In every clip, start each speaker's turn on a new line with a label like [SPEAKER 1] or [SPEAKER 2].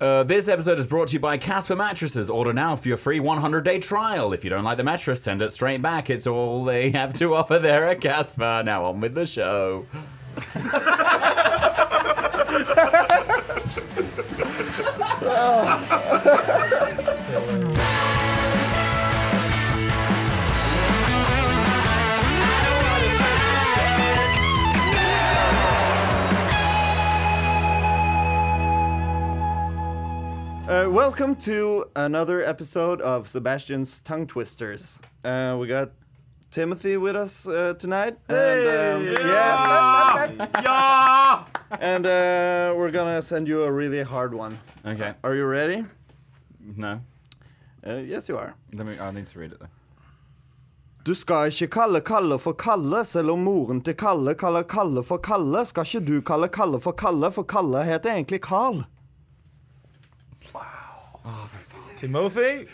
[SPEAKER 1] Uh, this episode is brought to you by Casper Mattresses. Order now for your free 100 day trial. If you don't like the mattress, send it straight back. It's all they have to offer there at Casper. Now on with the show.
[SPEAKER 2] Uh, welcome to another episode of Sebastian's Tongue Twisters. Uh, we
[SPEAKER 1] um,
[SPEAKER 2] got Timothy with us uh, tonight. And, um, yeah. and uh, we're gonna send you a really hard one.
[SPEAKER 1] Okay.
[SPEAKER 2] Are you ready?
[SPEAKER 1] No.
[SPEAKER 2] Uh, yes, you are.
[SPEAKER 1] Let me, I need to read it though.
[SPEAKER 2] Du skal ikke kalle Kalle for Kalle, selv om moren til Kalle kaller Kalle for Kalle. Skal ikke du kalle Kalle for Kalle, for Kalle heter egentlig Carl.
[SPEAKER 3] Timothy?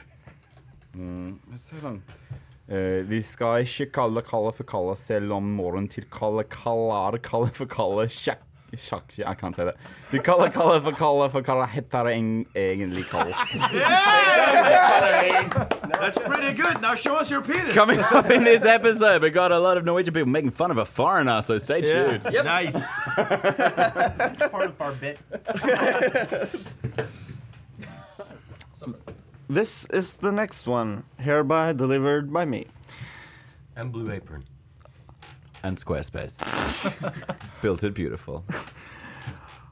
[SPEAKER 1] Så lang. Eh, vi skal ikke kalle Kalle for Kalle selv om moren til Kalle kaller Kalle for Kalle sjakk... Sjakk... I can't say that. Vi kaller Kalle for Kalle for Kalle heter eng- egentlig Kalle.
[SPEAKER 3] That's pretty good. Now show us your penis.
[SPEAKER 1] Coming up in this episode, we got a lot of Norwegian people making fun of a foreigner, so stay tuned.
[SPEAKER 3] Nice.
[SPEAKER 4] part of our bit.
[SPEAKER 2] This is the next one, hereby delivered by me.
[SPEAKER 4] And Blue Apron.
[SPEAKER 1] And Squarespace. Built it beautiful.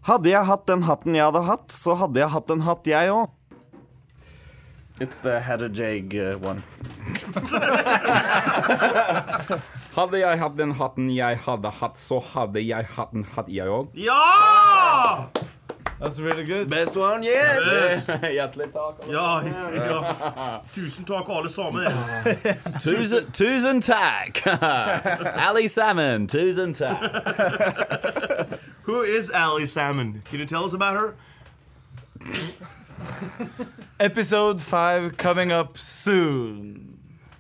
[SPEAKER 2] Hadde jeg hatt den hatten jeg hadde hatt, så hadde jeg hatt en hatt, jeg òg. It's the Hatter Jag uh, one.
[SPEAKER 1] Hadde jeg hatt den hatten jeg hadde hatt, så hadde jeg hatt en hatt, jeg òg.
[SPEAKER 3] Ja! That's really good.
[SPEAKER 2] Best one yet!
[SPEAKER 1] Hjertelig takk.
[SPEAKER 3] Ja, ja. Tusen takk, alle sammen.
[SPEAKER 1] Tusen, tusen takk. Ali Salmon, tusen takk.
[SPEAKER 3] Who is Allie Salmon? Can you tell us about her?
[SPEAKER 5] Episode 5 coming up soon.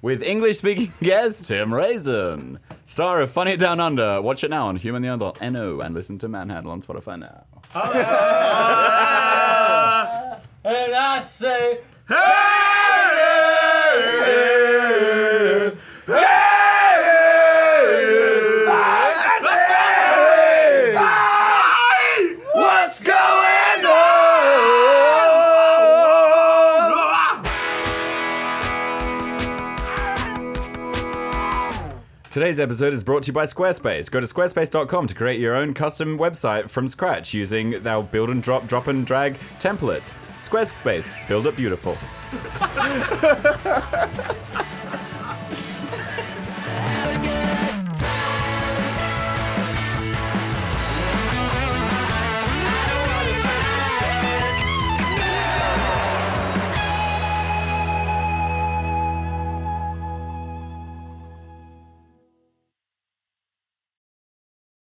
[SPEAKER 1] With English speaking guest Tim Raisin. Star of Funny Down Under. Watch it now on Human the Underdog NO and listen to Manhandle on Spotify now.
[SPEAKER 4] And I say,
[SPEAKER 2] What's going on?
[SPEAKER 1] Today's episode is brought to you by Squarespace. Go to squarespace.com to create your own custom website from scratch using our build and drop, drop and drag templates. Squarespace, build it beautiful.